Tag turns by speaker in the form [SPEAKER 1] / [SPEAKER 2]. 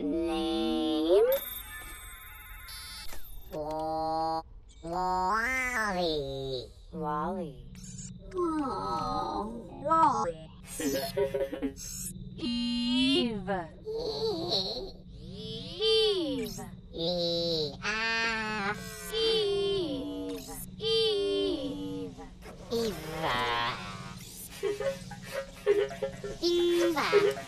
[SPEAKER 1] Name? Wa- Wally.
[SPEAKER 2] Wally.
[SPEAKER 1] Wally.
[SPEAKER 2] Eve. Eve.
[SPEAKER 1] E F
[SPEAKER 2] Eve. Eve.
[SPEAKER 1] Eva. Eva.